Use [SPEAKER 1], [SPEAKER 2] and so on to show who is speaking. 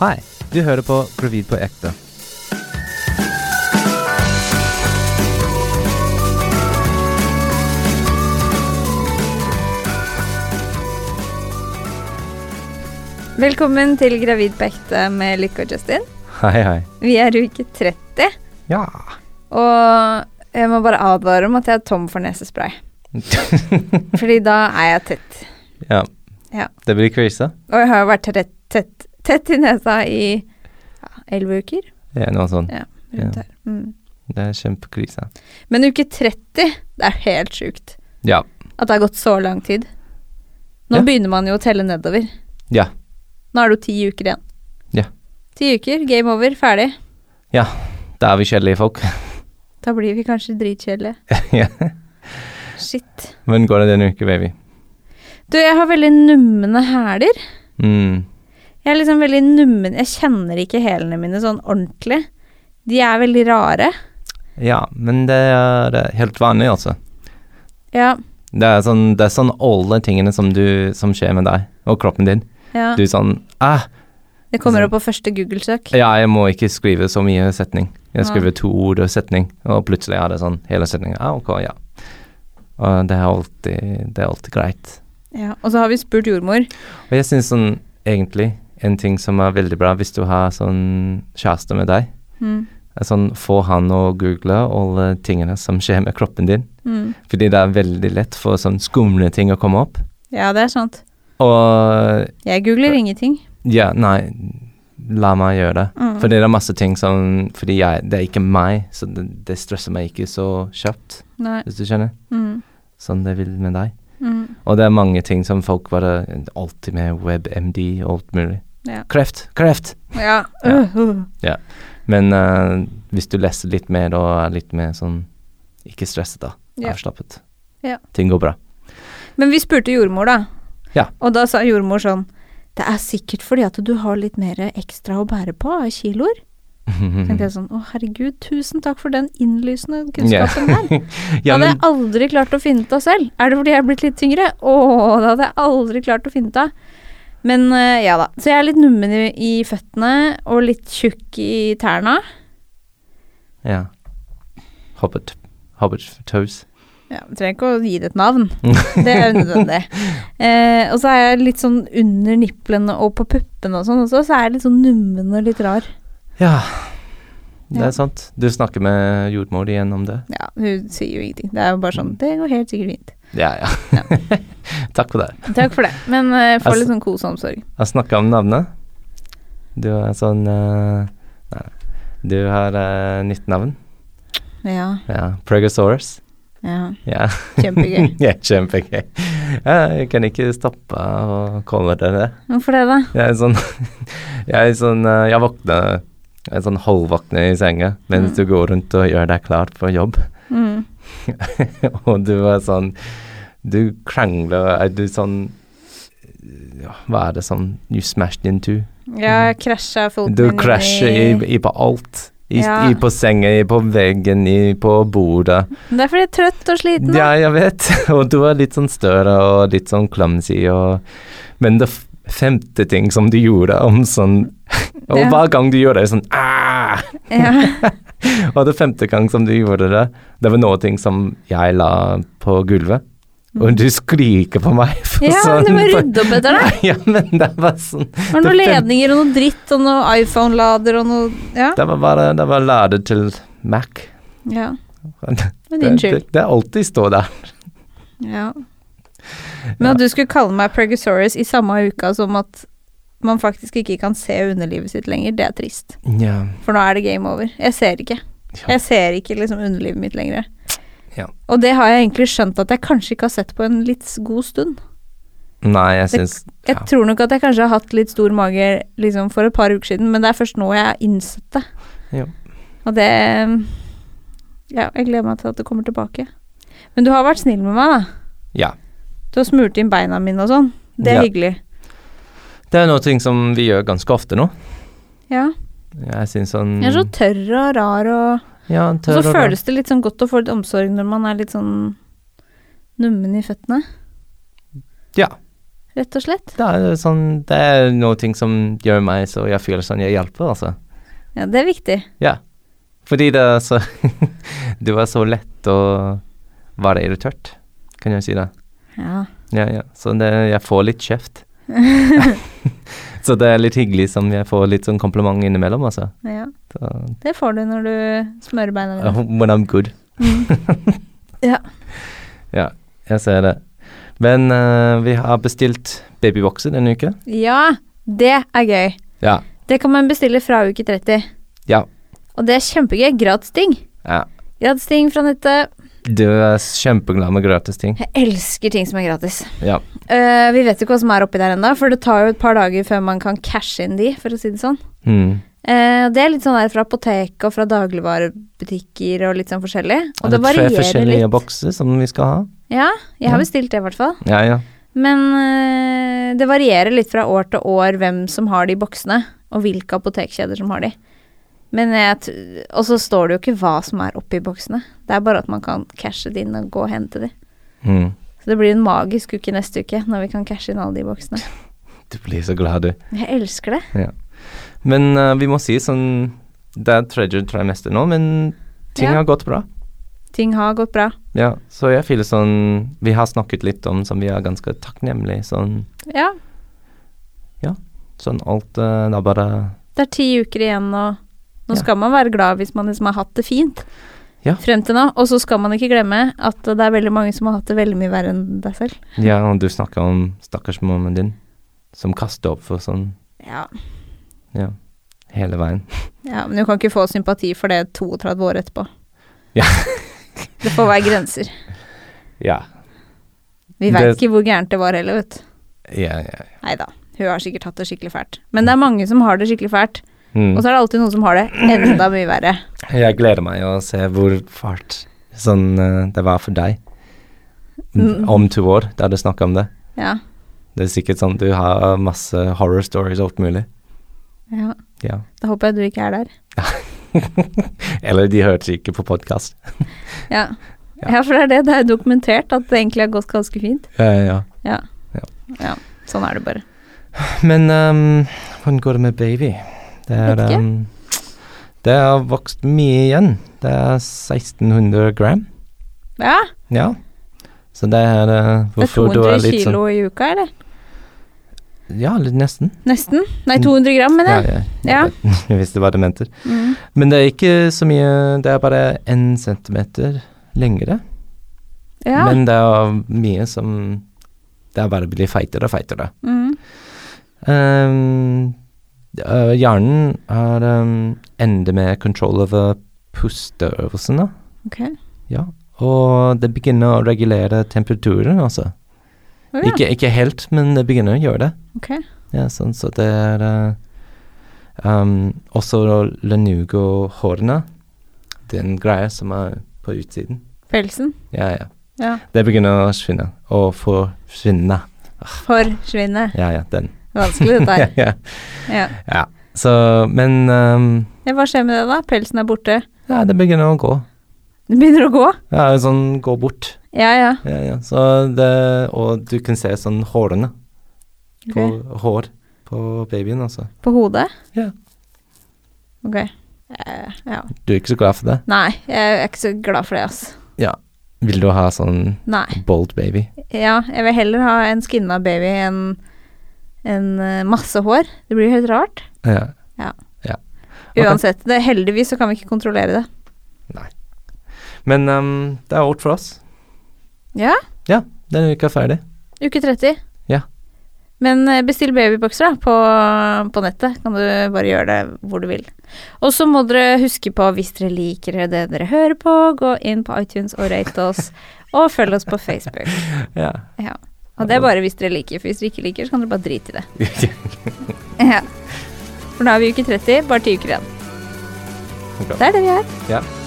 [SPEAKER 1] Hei, du hører på Gravid på ekte.
[SPEAKER 2] Velkommen til Gravid på ekte med Lykke og Justin.
[SPEAKER 1] Hei, hei.
[SPEAKER 2] Vi er i uke 30,
[SPEAKER 1] Ja.
[SPEAKER 2] og jeg må bare advare om at jeg er tom for nesespray. Fordi da er jeg tett.
[SPEAKER 1] ja.
[SPEAKER 2] Ja.
[SPEAKER 1] Det blir krise.
[SPEAKER 2] Og jeg har jo vært tett, tett, tett i nesa i ja, elleve uker.
[SPEAKER 1] Det er noe sånt.
[SPEAKER 2] Ja. Rundt
[SPEAKER 1] Ja.
[SPEAKER 2] her. Mm.
[SPEAKER 1] Det er kjempekrise.
[SPEAKER 2] Men uke 30, det er helt sjukt
[SPEAKER 1] Ja.
[SPEAKER 2] at det har gått så lang tid. Nå
[SPEAKER 1] Ja.
[SPEAKER 2] begynner man jo å telle nedover.
[SPEAKER 1] Ja.
[SPEAKER 2] Nå er det jo ti uker igjen.
[SPEAKER 1] Ja.
[SPEAKER 2] Ti uker, game over, ferdig.
[SPEAKER 1] Da er vi kjedelige folk.
[SPEAKER 2] Da blir vi kanskje dritkjedelige.
[SPEAKER 1] Ja.
[SPEAKER 2] Shit.
[SPEAKER 1] Men går det denne uke, baby?
[SPEAKER 2] Du, jeg har veldig numne hæler.
[SPEAKER 1] Mm.
[SPEAKER 2] Jeg er liksom veldig nummen. Jeg kjenner ikke hælene mine sånn ordentlig. De er veldig rare.
[SPEAKER 1] Ja, men det er eh, helt vanlig, altså.
[SPEAKER 2] Ja,
[SPEAKER 1] Det er sånn, det er sånn alle tingene som, du, som skjer med deg og kroppen din.
[SPEAKER 2] ja.
[SPEAKER 1] Du er sånn ah,
[SPEAKER 2] Det kommer opp på første Google-søk.
[SPEAKER 1] Ja, jeg må ikke skrive så mye setning. Jeg
[SPEAKER 2] Ja.
[SPEAKER 1] skriver to ord og setning, og plutselig er det sånn hele setningen. Ah, ok, ja. Og det er alltid, det er alltid greit.
[SPEAKER 2] Ja. Og så har vi spurt jordmor.
[SPEAKER 1] Og jeg syns sånn egentlig en ting som er veldig bra hvis du har sånn kjæreste med deg,
[SPEAKER 2] Mm.
[SPEAKER 1] er sånn få han å google alle tingene som skjer med kroppen din.
[SPEAKER 2] Mm.
[SPEAKER 1] Fordi det er veldig lett for sånn skumle ting å komme opp.
[SPEAKER 2] Ja, det er sant.
[SPEAKER 1] Og
[SPEAKER 2] Jeg googler ingenting.
[SPEAKER 1] ja, nei, la meg gjøre det.
[SPEAKER 2] Mm.
[SPEAKER 1] Fordi det er masse ting som Fordi jeg, det er ikke meg, så det, det stresser meg ikke så kjapt,
[SPEAKER 2] Nei.
[SPEAKER 1] hvis du skjønner.
[SPEAKER 2] Mm.
[SPEAKER 1] Sånn det vil med deg.
[SPEAKER 2] Mm.
[SPEAKER 1] Og det er mange ting som folk bare Alltid med WebMD og alt mulig.
[SPEAKER 2] Ja.
[SPEAKER 1] Kreft! Kreft!
[SPEAKER 2] Ja.
[SPEAKER 1] Ja.
[SPEAKER 2] Øh, øh.
[SPEAKER 1] Men eh, hvis du leser litt mer og er litt mer sånn Ikke stresset, da.
[SPEAKER 2] Ja.
[SPEAKER 1] Avslappet.
[SPEAKER 2] Ja.
[SPEAKER 1] Ting går bra.
[SPEAKER 2] Men vi spurte jordmor, da.
[SPEAKER 1] Ja.
[SPEAKER 2] Og da sa jordmor sånn Det er sikkert fordi at du har litt mer ekstra å bære på av kiloer.
[SPEAKER 1] Mm.
[SPEAKER 2] Tenkte jeg sånn Å, herregud, tusen takk for den innlysende kunnskapen der. Det
[SPEAKER 1] ja,
[SPEAKER 2] hadde jeg
[SPEAKER 1] men,
[SPEAKER 2] aldri klart å finne ut av selv. Er det fordi jeg er blitt litt tyngre? Å, det hadde jeg aldri klart å finne ut av. Men eh, ja da. Så jeg er litt nummen i, i føttene og litt tjukk i tærne.
[SPEAKER 1] ja. Hobbit. Hobbit toes.
[SPEAKER 2] Ja, vi trenger ikke å gi det et navn. Det er unødvendig. Eh, og så er jeg litt sånn under niplene og på puppene og sånn også, så er jeg litt sånn nummen og litt rar.
[SPEAKER 1] Ja. Det
[SPEAKER 2] Ja.
[SPEAKER 1] er sant. Du snakker med jordmor igjen om det?
[SPEAKER 2] Ja, hun sier jo ingenting. Det er jo bare sånn Det går helt sikkert fint.
[SPEAKER 1] Ja, ja. Takk for det.
[SPEAKER 2] Takk for det. Men eh, får
[SPEAKER 1] Altså-
[SPEAKER 2] litt sånn kos og omsorg.
[SPEAKER 1] Jeg snakka om navnet. Du er sånn eh, Nei. Du har eh, nytt navn.
[SPEAKER 2] Ja.
[SPEAKER 1] Ja. Pregosaurus.
[SPEAKER 2] ja.
[SPEAKER 1] Ja.
[SPEAKER 2] Kjempegøy.
[SPEAKER 1] Ja, kjempegøy. Ja, jeg kan ikke stoppe å kalle det det.
[SPEAKER 2] Hvorfor det, da?
[SPEAKER 1] Jeg er sånn Jeg, er sånn, eh, jeg våkner jeg er sånn halvvåkner i senga mens
[SPEAKER 2] Mm.
[SPEAKER 1] du går rundt og gjør deg klar for jobb,
[SPEAKER 2] Mm.
[SPEAKER 1] og du er sånn Du krangler Er du sånn ja, Hva er det sånn You smashed into?
[SPEAKER 2] Jeg krasja foten
[SPEAKER 1] Du
[SPEAKER 2] min
[SPEAKER 1] krasjer i, i på alt. I,
[SPEAKER 2] Ja.
[SPEAKER 1] i på senga, i på veggen, i på bordet.
[SPEAKER 2] Det er fordi jeg er trøtt og sliten. da.
[SPEAKER 1] Ja, jeg vet. Og du er litt sånn større og litt sånn clumsy og Men det f- femte ting som du gjorde om sånn Og
[SPEAKER 2] Ja.
[SPEAKER 1] hver gang du gjør det, sånn ah!
[SPEAKER 2] Ja.
[SPEAKER 1] Og det femte gang som du gjorde det, det var noe ting som jeg la på gulvet. Og du skriker på meg. For
[SPEAKER 2] Mm. Ja,
[SPEAKER 1] sånn,
[SPEAKER 2] du må rydde opp etter deg.
[SPEAKER 1] Ja, men det var sånn
[SPEAKER 2] Det var noen
[SPEAKER 1] Det fem-
[SPEAKER 2] ledninger og noe dritt og noe iPhone-lader og noe Ja.
[SPEAKER 1] Det var bare Det var ladet til Mac.
[SPEAKER 2] ja.
[SPEAKER 1] Det,
[SPEAKER 2] Det er
[SPEAKER 1] det,
[SPEAKER 2] din skyld.
[SPEAKER 1] det, det alltid står der.
[SPEAKER 2] Ja. Men at du skulle kalle meg Pregosaurus i samme uka som at man faktisk ikke kan se underlivet sitt lenger, det er trist.
[SPEAKER 1] Ja.
[SPEAKER 2] For nå er det game over. Jeg ser ikke.
[SPEAKER 1] ja.
[SPEAKER 2] Jeg ser ikke liksom underlivet mitt lenger.
[SPEAKER 1] Ja.
[SPEAKER 2] Og det har jeg egentlig skjønt at jeg kanskje ikke har sett på en litt s- god stund.
[SPEAKER 1] Nei, jeg
[SPEAKER 2] Det-
[SPEAKER 1] syns
[SPEAKER 2] Jeg
[SPEAKER 1] Ja.
[SPEAKER 2] tror nok at jeg kanskje har hatt litt stor mage liksom for et par uker siden, men det er først nå jeg har innsett det.
[SPEAKER 1] Ja.
[SPEAKER 2] Og det Ja, jeg gleder meg til at det kommer tilbake. Men du har vært snill med meg, da.
[SPEAKER 1] Ja.
[SPEAKER 2] Du har smurt inn beina mine og sånn. Det er
[SPEAKER 1] Ja.
[SPEAKER 2] hyggelig.
[SPEAKER 1] Det er noe ting som vi gjør ganske ofte nå.
[SPEAKER 2] Ja.
[SPEAKER 1] Jeg syns sånn
[SPEAKER 2] Jeg er så tørr og rar, og,
[SPEAKER 1] Ja,
[SPEAKER 2] og
[SPEAKER 1] tørr
[SPEAKER 2] så
[SPEAKER 1] og rar.
[SPEAKER 2] føles det litt sånn godt å få litt omsorg når man er litt sånn nummen i føttene.
[SPEAKER 1] Ja.
[SPEAKER 2] rett og slett.
[SPEAKER 1] Det er, sånn, det er noe ting som gjør meg så jeg føler sånn jeg hjelper, altså.
[SPEAKER 2] Ja, det er viktig.
[SPEAKER 1] Ja. Fordi det er så Det var så lett å være irritert, kan jeg si det.
[SPEAKER 2] Ja.
[SPEAKER 1] Ja, ja. Så det, jeg får litt kjeft. så det er litt hyggelig som jeg får litt sånn kompliment innimellom, altså.
[SPEAKER 2] ja.
[SPEAKER 1] Så,
[SPEAKER 2] Det får du når du smører beina dine.
[SPEAKER 1] when I'm good.
[SPEAKER 2] Mm. Ja.
[SPEAKER 1] Ja, jeg ser det. Men eh, vi har bestilt babybokser denne uka.
[SPEAKER 2] Ja, det er gøy.
[SPEAKER 1] Ja.
[SPEAKER 2] Det kan man bestille fra uke 30.
[SPEAKER 1] Ja.
[SPEAKER 2] Og det er kjempegøy. Gratis ting.
[SPEAKER 1] ja.
[SPEAKER 2] Gratis ting fra nettet.
[SPEAKER 1] Du er kjempeglad med gratis ting.
[SPEAKER 2] Jeg elsker ting som er gratis.
[SPEAKER 1] Ja.
[SPEAKER 2] Eh, vi vet jo ikke hva som er oppi der ennå, for det tar jo et par dager før man kan cashe inn de, for å si det sånn.
[SPEAKER 1] Mm.
[SPEAKER 2] Eh, det er litt sånn der fra apotek og fra dagligvarebutikker og litt sånn forskjellig. Og det,
[SPEAKER 1] er tre
[SPEAKER 2] varierer
[SPEAKER 1] forskjellige
[SPEAKER 2] litt.
[SPEAKER 1] bokser som vi skal ha.
[SPEAKER 2] Ja, jeg har
[SPEAKER 1] Ja.
[SPEAKER 2] bestilt det i hvert fall.
[SPEAKER 1] Ja, ja.
[SPEAKER 2] Men eh, det varierer litt fra år til år hvem som har de boksene, og hvilke apotekkjeder som har de. Men jeg t- Og så står det jo ikke hva som er oppi boksene. Det er bare at man kan cashe det inn og gå og hente de.
[SPEAKER 1] Mm.
[SPEAKER 2] Så det blir en magisk uke neste uke når vi kan cashe inn alle de boksene.
[SPEAKER 1] Du blir så glad, du.
[SPEAKER 2] Jeg elsker det.
[SPEAKER 1] Men eh, vi må si sånn Det er tredje trimester nå, men ting
[SPEAKER 2] Ja.
[SPEAKER 1] har gått bra.
[SPEAKER 2] Ting har gått bra.
[SPEAKER 1] Ja, så jeg føler sånn Vi har snakket litt om som vi er ganske takknemlige. Sånn,
[SPEAKER 2] Ja,
[SPEAKER 1] sånn alt eh, Det er bare
[SPEAKER 2] det er ti uker igjen, og nå
[SPEAKER 1] Ja.
[SPEAKER 2] skal man være glad hvis man liksom har hatt det fint
[SPEAKER 1] Ja.
[SPEAKER 2] frem til nå. Og så skal man ikke glemme at det er veldig mange som har hatt det veldig mye verre enn deg selv.
[SPEAKER 1] Ja, og du snakker om stakkars mammaen din som kaster opp for sånn
[SPEAKER 2] Ja.
[SPEAKER 1] Ja, hele veien.
[SPEAKER 2] Ja, men du kan ikke få sympati for det 32 år etterpå.
[SPEAKER 1] Ja.
[SPEAKER 2] det får være grenser.
[SPEAKER 1] Ja.
[SPEAKER 2] Vi veit
[SPEAKER 1] Det-
[SPEAKER 2] ikke hvor gærent det var heller, vet du.
[SPEAKER 1] ja, ja.
[SPEAKER 2] Nei da, hun har sikkert hatt det skikkelig fælt. Men det er mange som har det skikkelig fælt,
[SPEAKER 1] Mm.
[SPEAKER 2] og så er det alltid noen som har det enda mye verre.
[SPEAKER 1] Jeg gleder meg å se hvor fælt sånn eh, det var for deg.
[SPEAKER 2] Mm.
[SPEAKER 1] Om to år, da du snakker om det.
[SPEAKER 2] Ja.
[SPEAKER 1] Det er sikkert sånn du har masse horror stories og alt mulig.
[SPEAKER 2] ja.
[SPEAKER 1] Ja.
[SPEAKER 2] Da håper jeg du ikke er der.
[SPEAKER 1] Eller de hørte ikke på podkast.
[SPEAKER 2] Ja.
[SPEAKER 1] Ja.
[SPEAKER 2] ja, for det er det. Det er dokumentert at det egentlig har gått ganske fint.
[SPEAKER 1] Ja, ja, ja.
[SPEAKER 2] Ja.
[SPEAKER 1] Ja.
[SPEAKER 2] ja. Sånn er det bare.
[SPEAKER 1] Men ehm, hvordan går det med baby? Det er
[SPEAKER 2] Vet ikke.
[SPEAKER 1] ehm, Det har vokst mye igjen. Det er 1600 gram.
[SPEAKER 2] Ja,
[SPEAKER 1] Ja. Så det er eh,
[SPEAKER 2] det er
[SPEAKER 1] hvorfor du
[SPEAKER 2] 200
[SPEAKER 1] er litt sånn
[SPEAKER 2] kilo i uka, eller?
[SPEAKER 1] Ja, litt nesten.
[SPEAKER 2] Nesten.
[SPEAKER 1] Mm.
[SPEAKER 2] Nei, 200 gram,
[SPEAKER 1] Ja,
[SPEAKER 2] mener jeg.
[SPEAKER 1] ja.
[SPEAKER 2] Ja.
[SPEAKER 1] Jeg visste hva du mente.
[SPEAKER 2] Mm.
[SPEAKER 1] Men det er ikke så mye Det er bare én centimeter lengre.
[SPEAKER 2] Ja.
[SPEAKER 1] Men det er mye som Det er bare å bli feitere og feitere.
[SPEAKER 2] Mm.
[SPEAKER 1] Ehm, øh, hjernen er um, ender med control over pusteøvelsene.
[SPEAKER 2] Ok.
[SPEAKER 1] Ja. Og det begynner å regulere temperaturen, altså.
[SPEAKER 2] Å, ja.
[SPEAKER 1] Ikke, ikke helt, men det begynner å gjøre det.
[SPEAKER 2] Ok.
[SPEAKER 1] Ja, sånn, så det er eh, um, Også lanugo-hårene. Den greia som er på utsiden.
[SPEAKER 2] Pelsen.
[SPEAKER 1] Ja, ja.
[SPEAKER 2] Ja.
[SPEAKER 1] Det begynner å svinne. Å forsvinne.
[SPEAKER 2] Forsvinne.
[SPEAKER 1] Ja, ja, den.
[SPEAKER 2] Vanskelig dette
[SPEAKER 1] Ja,
[SPEAKER 2] her.
[SPEAKER 1] ja.
[SPEAKER 2] Ja.
[SPEAKER 1] ja. Så, men ehm,
[SPEAKER 2] Ja, Hva skjer med det, da? Pelsen er borte.
[SPEAKER 1] Ja, det begynner å gå.
[SPEAKER 2] Den begynner å gå.
[SPEAKER 1] Ja, sånn gå bort.
[SPEAKER 2] Ja, ja.
[SPEAKER 1] Ja, ja. Så det, og du kan se sånn hårene
[SPEAKER 2] Ok.
[SPEAKER 1] på, hår på babyen, altså.
[SPEAKER 2] På hodet?
[SPEAKER 1] Ja.
[SPEAKER 2] Ok. Eh, ja.
[SPEAKER 1] Du er ikke så glad for det?
[SPEAKER 2] Nei, jeg er ikke så glad for det, ass.
[SPEAKER 1] Ja. Vil du ha sånn
[SPEAKER 2] Nei.
[SPEAKER 1] bold baby?
[SPEAKER 2] Ja, jeg vil heller ha en skinna baby enn enn, eh, masse hår. Det blir jo helt rart.
[SPEAKER 1] Ja. Ok.
[SPEAKER 2] Uansett. Det, heldigvis så kan vi ikke kontrollere det.
[SPEAKER 1] Men ehm, det er alt for oss.
[SPEAKER 2] Ja,
[SPEAKER 1] Denne uka er ferdig.
[SPEAKER 2] uke 30.
[SPEAKER 1] Ja.
[SPEAKER 2] Men eh, bestill babybokser da, på, på nettet. Kan du bare gjøre det hvor du vil. Og så må dere huske på, hvis dere liker det dere hører på, gå inn på iTunes og rate oss. og følg oss på Facebook.
[SPEAKER 1] Ja.
[SPEAKER 2] Ja. Og det er bare hvis dere liker, for hvis dere ikke liker, så kan dere bare drite i det. Ja. For nå er vi i uke 30, bare ti uker igjen.
[SPEAKER 1] Bra.
[SPEAKER 2] Det er det vi er.
[SPEAKER 1] ja.